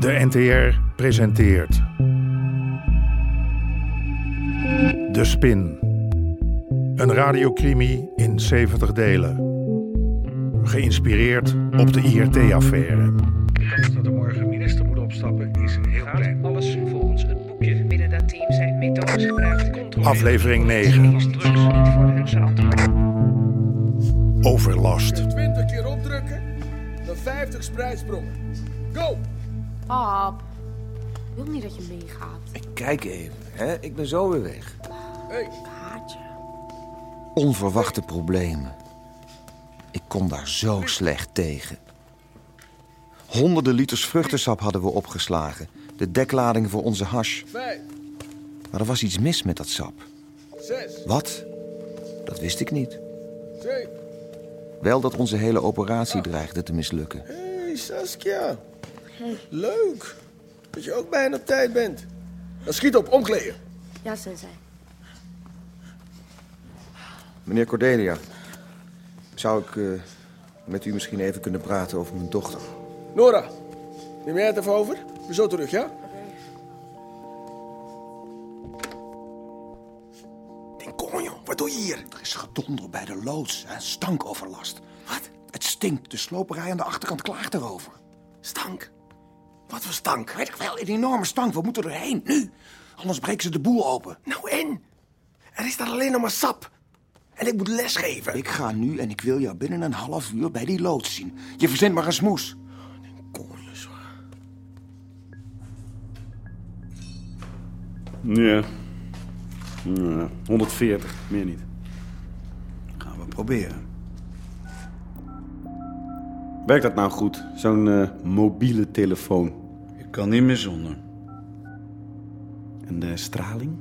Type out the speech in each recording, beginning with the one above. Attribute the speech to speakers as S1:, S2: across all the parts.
S1: De NTR presenteert. De Spin. Een radiocrimi in 70 delen. Geïnspireerd op de IRT-affaire.
S2: De kans dat er morgen een minister moet opstappen is heel klein.
S3: Alles volgens het boekje.
S4: Binnen dat team zijn methodes gebruikt
S1: Aflevering
S4: die
S1: 9.
S4: justitie niet voor hun verantwoording.
S1: Overlast.
S5: 20 keer opdrukken, dan 50 spreidsbrongen. Go!
S6: Pap, ik wil niet dat je meegaat.
S7: Kijk even, hè? ik ben zo weer weg.
S5: Hey,
S6: Haat je.
S7: Onverwachte problemen. Ik kom daar zo slecht tegen. Honderden liters vruchtensap hadden we opgeslagen. De deklading voor onze hash.
S5: 5,
S7: Maar er was iets mis met dat sap.
S5: 6,
S7: Wat? Dat wist ik niet.
S5: 7.
S7: Wel dat onze hele operatie dreigde te mislukken.
S5: Hey Saskia. Leuk dat je ook bijna op tijd bent. Dan schiet op, omkleden.
S6: Ja, sensei.
S7: Meneer Cordelia, zou ik eh, met u misschien even kunnen praten over mijn dochter?
S5: Nora, neem jij het even over? We zo terug, ja?
S7: Dinkonjo, wat doe je hier? Er is gedonder bij de loods en stankoverlast. Wat? Het stinkt. De sloperij aan de achterkant klaagt erover. Stank? Wat voor stank? Weet ik wel, een enorme stank. We moeten erheen, nu. Anders breken ze de boel open. Nou en? Er is daar alleen nog maar sap. En ik moet lesgeven. Ik ga nu en ik wil jou binnen een half uur bij die loods zien. Je verzint maar een smoes. Dinkonjo,
S8: Ja. Ja, 140, meer niet. Gaan we proberen. Werkt dat nou goed, zo'n eh, mobiele telefoon?
S9: Ik kan niet meer zonder.
S8: En de straling?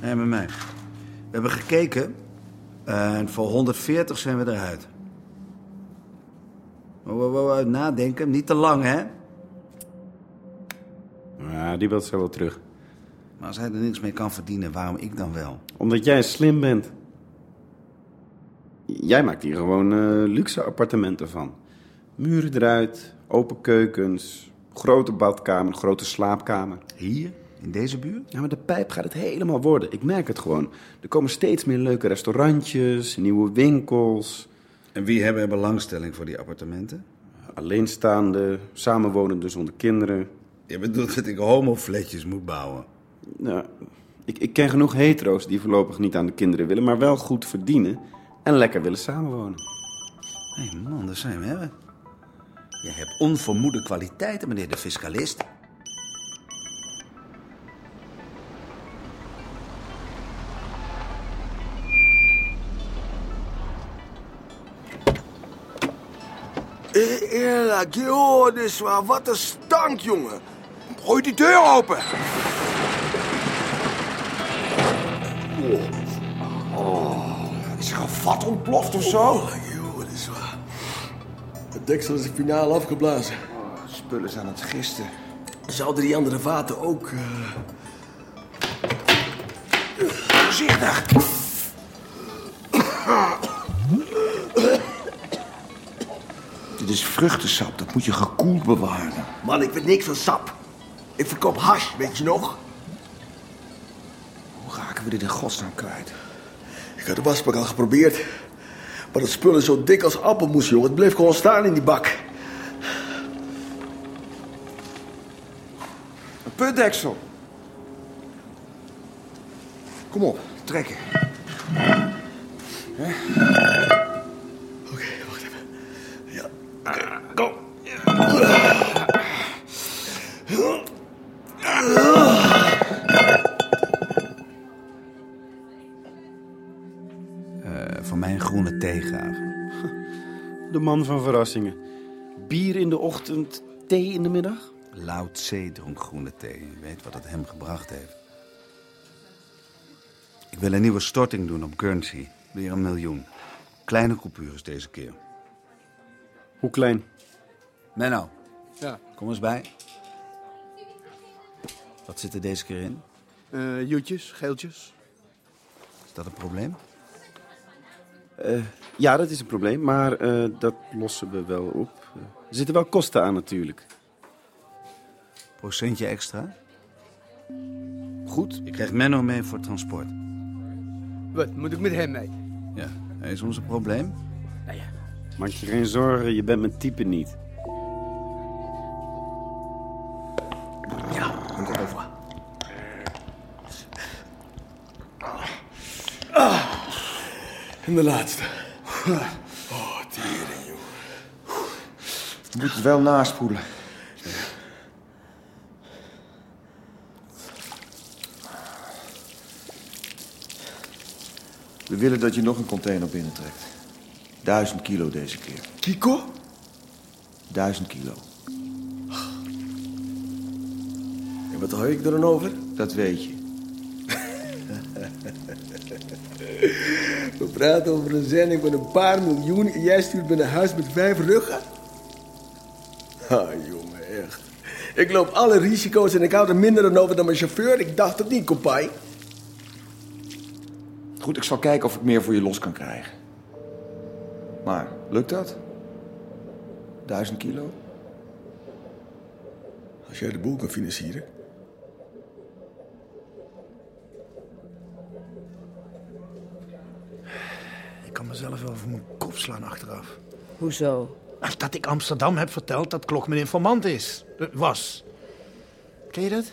S9: Nee, met mij. We hebben gekeken eh, en voor 140 zijn we eruit. Wow, wow, wow, wow, nadenken. Niet te lang, hè?
S8: Ja, die wilt ze wel terug.
S9: Maar als hij er niks mee kan verdienen, waarom ik dan wel?
S8: Omdat jij slim bent. Jij maakt hier gewoon eh, luxe appartementen van. Muren eruit, open keukens, grote badkamer, grote slaapkamer.
S9: Hier? In deze buurt?
S8: Ja, maar de pijp gaat het helemaal worden. Ik merk het gewoon. Er komen steeds meer leuke restaurantjes, nieuwe winkels.
S9: En wie hebben er belangstelling voor die appartementen?
S8: Alleenstaande, samenwonenden zonder kinderen.
S9: Je bedoelt dat ik homofletjes moet bouwen.
S8: Nou, ik, ik ken genoeg hetero's die voorlopig niet aan de kinderen willen, maar wel goed verdienen en lekker willen samenwonen.
S9: Hé hey man, daar zijn we, hè? Je hebt onvermoede kwaliteiten, meneer de fiscalist.
S5: Eh, Eerlijk, joh, dit is waar. Wat een stank, jongen. Gooi die deur open. Oh,
S7: Is er een vat ontploft of zo?
S5: Joh, dit is waar. Het deksel is finaal afgeblazen.
S7: Spullen zijn aan het gisten.
S5: Zouden die andere vaten ook... eh,
S7: Voorzichtig! Dit is vruchtensap, dat moet je gekoeld bewaren.
S5: Man, ik weet niks van sap. Ik verkoop hash, weet je nog?
S7: Hoe raken we dit in godsnaam kwijt?
S5: Ik had de wasbak al geprobeerd. Maar dat spul is zo dik als appelmoes, jongen. Het bleef gewoon staan in die bak.
S7: Een putdeksel. Kom op, trekken.
S5: Oké, wacht even. Ja.
S7: Ah.
S9: Eh, voor mijn groene tegenhagen.
S8: De man van verrassingen. Bier in de ochtend, thee in de middag.
S9: Lao Tse dronk groene thee. Je weet wat het hem gebracht heeft. Ik wil een nieuwe storting doen op currency. Weer een miljoen. Kleine coupures deze keer.
S8: Hoe klein?
S9: Menno. Ja. Kom eens bij. Wat zit er deze keer in?
S10: Eh, Joetjes, geeltjes.
S9: Is dat een probleem?
S8: Ja, dat is een probleem, maar eh, dat lossen we wel op. Er zitten wel kosten aan natuurlijk.
S9: Procentje extra. Goed, je krijgt Menno mee voor transport.
S10: Wat, moet ik met hem mee? Nou
S9: Ja, hij is ons een probleem.
S8: Maak je geen zorgen, je bent mijn type niet.
S5: En de laatste. Oh,
S7: Je moet het wel naspoelen. We willen dat je nog een container binnentrekt. Duizend kilo deze keer.
S5: Kiko?
S7: Duizend kilo.
S5: En wat hou ik er dan over?
S7: Dat weet je.
S5: We praten over een zending van een paar miljoen... en jij stuurt me naar huis met vijf ruggen? Ah, jongen, echt. Ik loop alle risico's en ik hou er minder aan over dan mijn chauffeur. Ik dacht het niet, kopai.
S7: Goed, ik zal kijken of ik meer voor je los kan krijgen. Maar lukt dat? Duizend kilo?
S5: Als jij de boel kan financieren.
S3: Ik kan mezelf wel voor mijn kop slaan achteraf.
S11: Hoezo?
S3: Ach, Dat ik Amsterdam heb verteld dat Klok mijn informant is. Eh, Was. Ken je dat?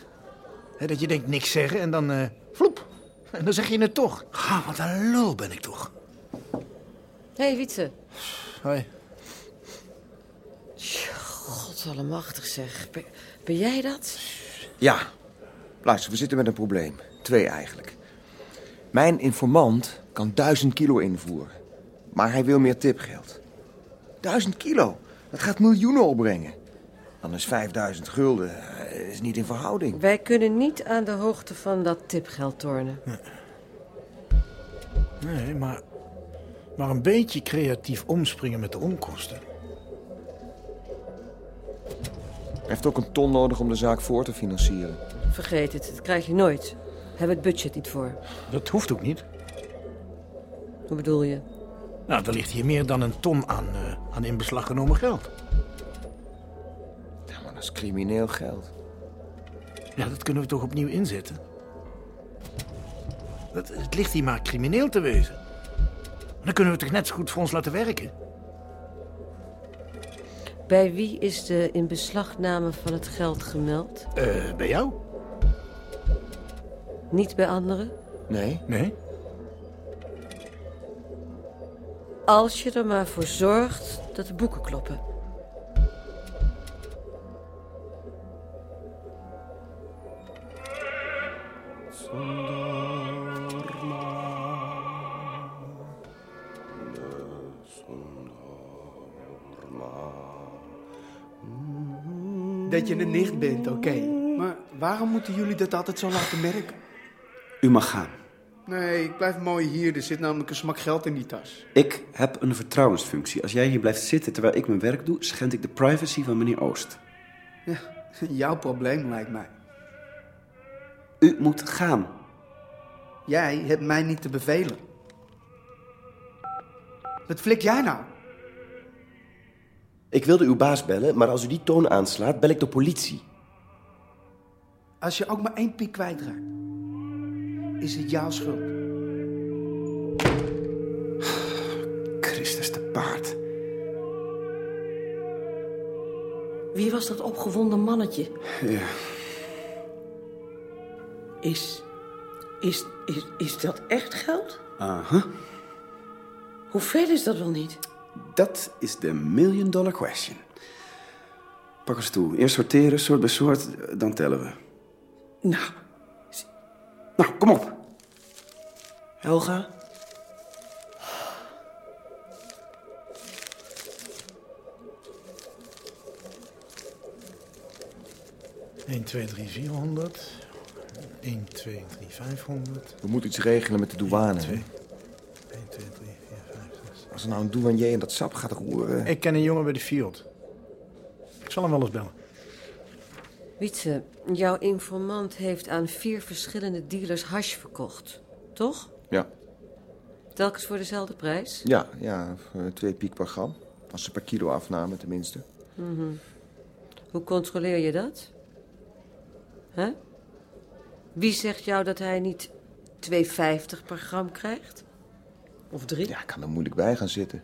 S3: Hè, Dat je denkt niks zeggen en dan eh vloep. En dan zeg je het toch. Ha, Ah, wat een lul ben ik toch.
S11: Hé, hey, Wietse.
S3: Hoi.
S11: Godallemachtig zeg. Ben, ben jij dat?
S7: Ja. Luister, we zitten met een probleem. Twee eigenlijk. Mijn informant kan duizend kilo invoeren. Maar hij wil meer tipgeld. Duizend kilo? Dat gaat miljoenen opbrengen. Dan is 5000 gulden eh, is niet in verhouding.
S11: Wij kunnen niet aan de hoogte van dat tipgeld tornen.
S3: Nee, maar, maar een beetje creatief omspringen met de onkosten.
S7: Hij heeft ook een ton nodig om de zaak voor te financieren.
S11: Vergeet het, dat krijg je nooit. Hebben het budget niet voor.
S3: Dat hoeft ook niet.
S11: Hoe bedoel je?
S3: Nou, er ligt hier meer dan een ton aan, eh, aan in beslag genomen geld.
S7: Ja, maar dat is crimineel geld.
S3: Ja, dat kunnen we toch opnieuw inzetten? Dat, het ligt hier maar crimineel te wezen. Dan kunnen we het toch net zo goed voor ons laten werken?
S11: Bij wie is de inbeslagname van het geld gemeld?
S3: Eh, bij jou?
S11: Niet bij anderen?
S7: Nee?
S3: Nee.
S11: Als je er maar voor zorgt dat de boeken kloppen.
S10: Dat je een nicht bent, oké. Maar waarom moeten jullie dat altijd zo laten merken?
S8: U mag gaan.
S10: Nee, ik blijf mooi hier. Er zit namelijk een smak geld in die tas.
S8: Ik heb een vertrouwensfunctie. Als jij hier blijft zitten terwijl ik mijn werk doe, schend ik de privacy van meneer Oost.
S10: Ja, jouw probleem lijkt mij.
S8: U moet gaan.
S10: Jij hebt mij niet te bevelen. Wat flik jij nou?
S12: Ik wilde uw baas bellen, maar als u die toon aanslaat, bel ik de politie.
S10: Als je ook maar één piek kwijtraakt, is het jouw schuld.
S7: Christus de paard.
S11: Wie was dat opgewonden mannetje?
S8: Ja.
S11: Is. Is, is, is dat echt geld?
S8: Aha.
S11: Hoe ver is dat wel niet?
S8: Dat is de million dollar question. Pak eens toe. Eerst sorteren, soort bij soort, dan tellen we.
S12: Nou,
S8: Nou, kom op.
S12: Helga?
S3: Eén, twee, drie, 400. 1, 2, 3, 500.
S7: We moeten iets regelen met de douane. hè?
S3: 1, 2, 3, 4, 5, 6.
S7: Als er nou een douanier in dat sap gaat roeren...
S3: Ik ken een jongen bij de Fiat. Ik zal hem wel eens bellen.
S11: Wietse, jouw informant heeft aan vier verschillende dealers hash verkocht. Toch?
S7: Ja,
S11: Telkens voor dezelfde prijs?
S7: ja, ja. eh, Twee piek per gram. Als ze per kilo afnamen tenminste.
S11: Hoe controleer je dat? Hè? Wie zegt jou dat hij niet 2,50 per gram krijgt? Of drie?
S7: Ja, ik kan er moeilijk bij gaan zitten.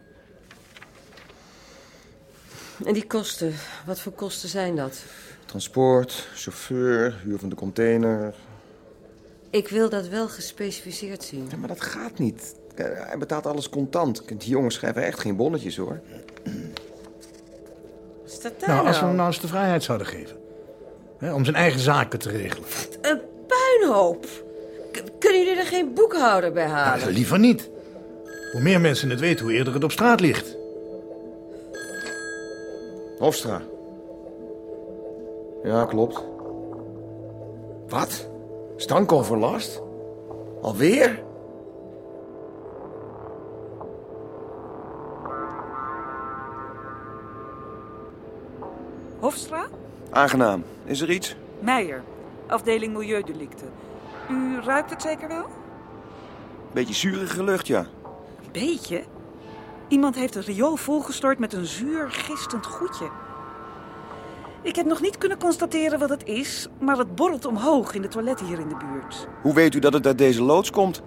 S11: En die kosten, wat voor kosten zijn dat?
S7: Transport, chauffeur, huur van de container.
S11: Ik wil dat wel gespecificeerd zien.
S7: maar dat gaat niet. Eh, Hij betaalt alles contant. Die jongens schrijven echt geen bonnetjes hoor.
S11: Wat staat daar
S3: Nou,
S11: nou?
S3: als we hem nou eens de vrijheid zouden geven. Hè, om zijn eigen zaken te regelen.
S11: Een puinhoop! K- kunnen jullie er geen boekhouder bij halen?
S3: Nou, liever niet. Hoe meer mensen het weten, hoe eerder het op straat ligt.
S7: Hofstra. Ja, klopt. Wat? Stankoverlast? Alweer?
S13: Hofstra?
S7: Aangenaam. Is er iets?
S13: Meijer, afdeling Milieudelicten. U ruikt het zeker wel?
S7: Beetje zurige lucht, ja.
S13: Beetje. Iemand heeft het riool volgestort met een zuur, gistend goedje. Ik heb nog niet kunnen constateren wat het is, maar het borrelt omhoog in de toiletten hier in de buurt.
S7: Hoe weet u dat het uit deze loods komt?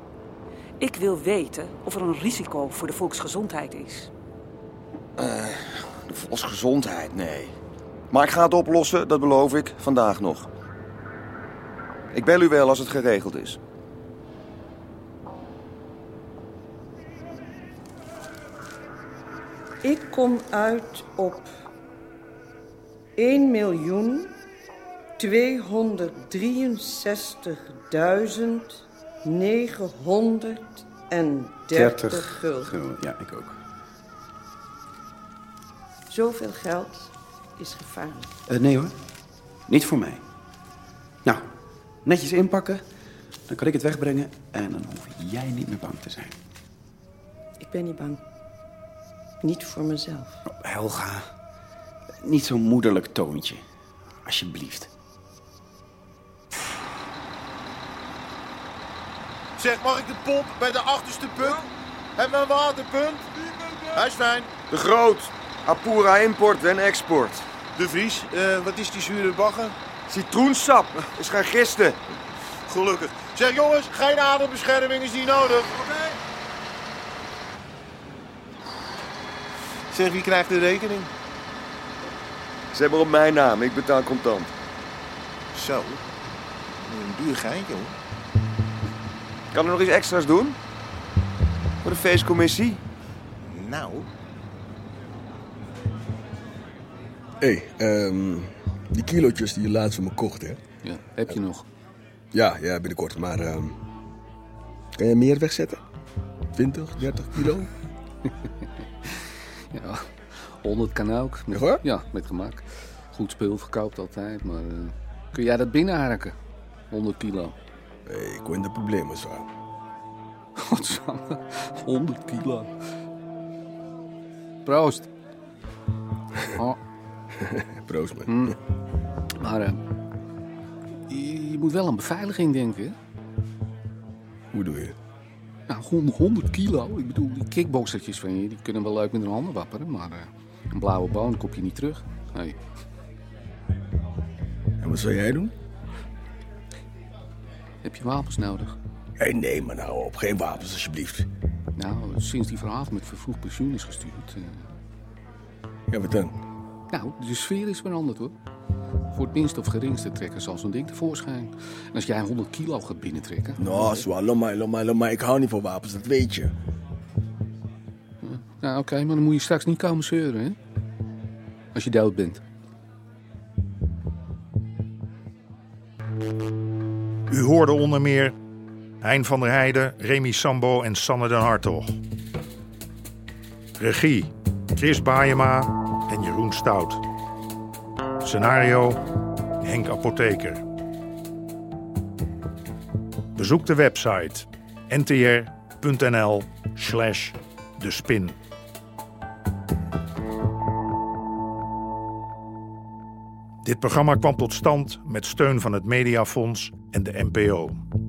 S13: Ik wil weten of er een risico voor de volksgezondheid is.
S7: Eh, de volksgezondheid, nee. Maar ik ga het oplossen, dat beloof ik, vandaag nog. Ik bel u wel als het geregeld is.
S14: Ik kom uit op 1 miljoen 263.930 gulden.
S8: Oh, Ja, ik ook.
S14: Zoveel geld is gevaarlijk.
S8: Eh, nee hoor, niet voor mij. Nou, netjes inpakken, dan kan ik het wegbrengen en dan hoef jij niet meer bang te zijn.
S14: Ik ben niet bang. Niet voor mezelf.
S8: Helga, niet zo'n moederlijk toontje, alsjeblieft.
S15: Zeg, mag ik de pomp bij de achterste punt? Hebben we een waterpunt? Hij is fijn.
S7: De Groot, Apura Import en Export.
S15: De Vries, eh, wat is die zure bagger?
S7: Citroensap, is gaan gisten.
S15: Gelukkig. Zeg jongens, geen adembescherming is niet nodig. Zeg, wie krijgt de rekening?
S7: Ze hebben op mijn naam, ik betaal contant.
S15: Zo, een duur geintje hoor.
S7: Kan er nog iets extra's doen? Voor de feestcommissie?
S15: Nou.
S5: Hé, hey, ehm, die kilootjes die je laatst van me kocht, hè?
S16: Ja, heb je nog?
S5: Ja, ja, binnenkort. Maar ehm, kan jij meer wegzetten? 20, 30 kilo?
S16: Ja, 100 kan ook. Met,
S5: hoor?
S16: Ja, met gemak. Goed spul verkoopt altijd, maar eh, kun jij dat binnenharken? 100 kilo.
S5: Ik win de problemen zo.
S16: Godsamme, 100 kilo. Proost. Oh. Mm.
S5: Proost, man.
S16: Maar eh, je, je moet wel aan beveiliging denken. hè?
S5: Hoe doe je?
S16: Nou, gewoon 100 kilo. Ik bedoel, die kickboxertjes van je, die kunnen wel leuk met hun handen wapperen. Maar eh, een blauwe boon kop je niet terug. Nee.
S5: En wat zou jij doen?
S16: Heb je wapens nodig?
S5: Hey, nee, maar nou op. Geen wapens, alsjeblieft.
S16: Nou, sinds die verhaal met vervroegd pensioen is gestuurd... eh,
S5: Ja, wat dan?
S16: Nou, de sfeer is veranderd hoor. Voor het minst of geringste trekken zal zo'n ding tevoorschijn. En als jij 100 kilo gaat binnentrekken.
S5: Nou, swallow mij, lo mij, lo mij. Ik hou niet van wapens, dat weet je.
S16: Nou, oké, maar dan moet je straks niet komen zeuren, hè? Als je dood bent.
S1: U hoorde onder meer Hein van der Heijden, Remy Sambo en Sanne den Hartog. Regie Chris Baayema en Jeroen Stout. Scenario Henk Apotheker. Bezoek de website ntr.nl slash de spin. Dit programma kwam tot stand met steun van het Mediafonds en de NPO.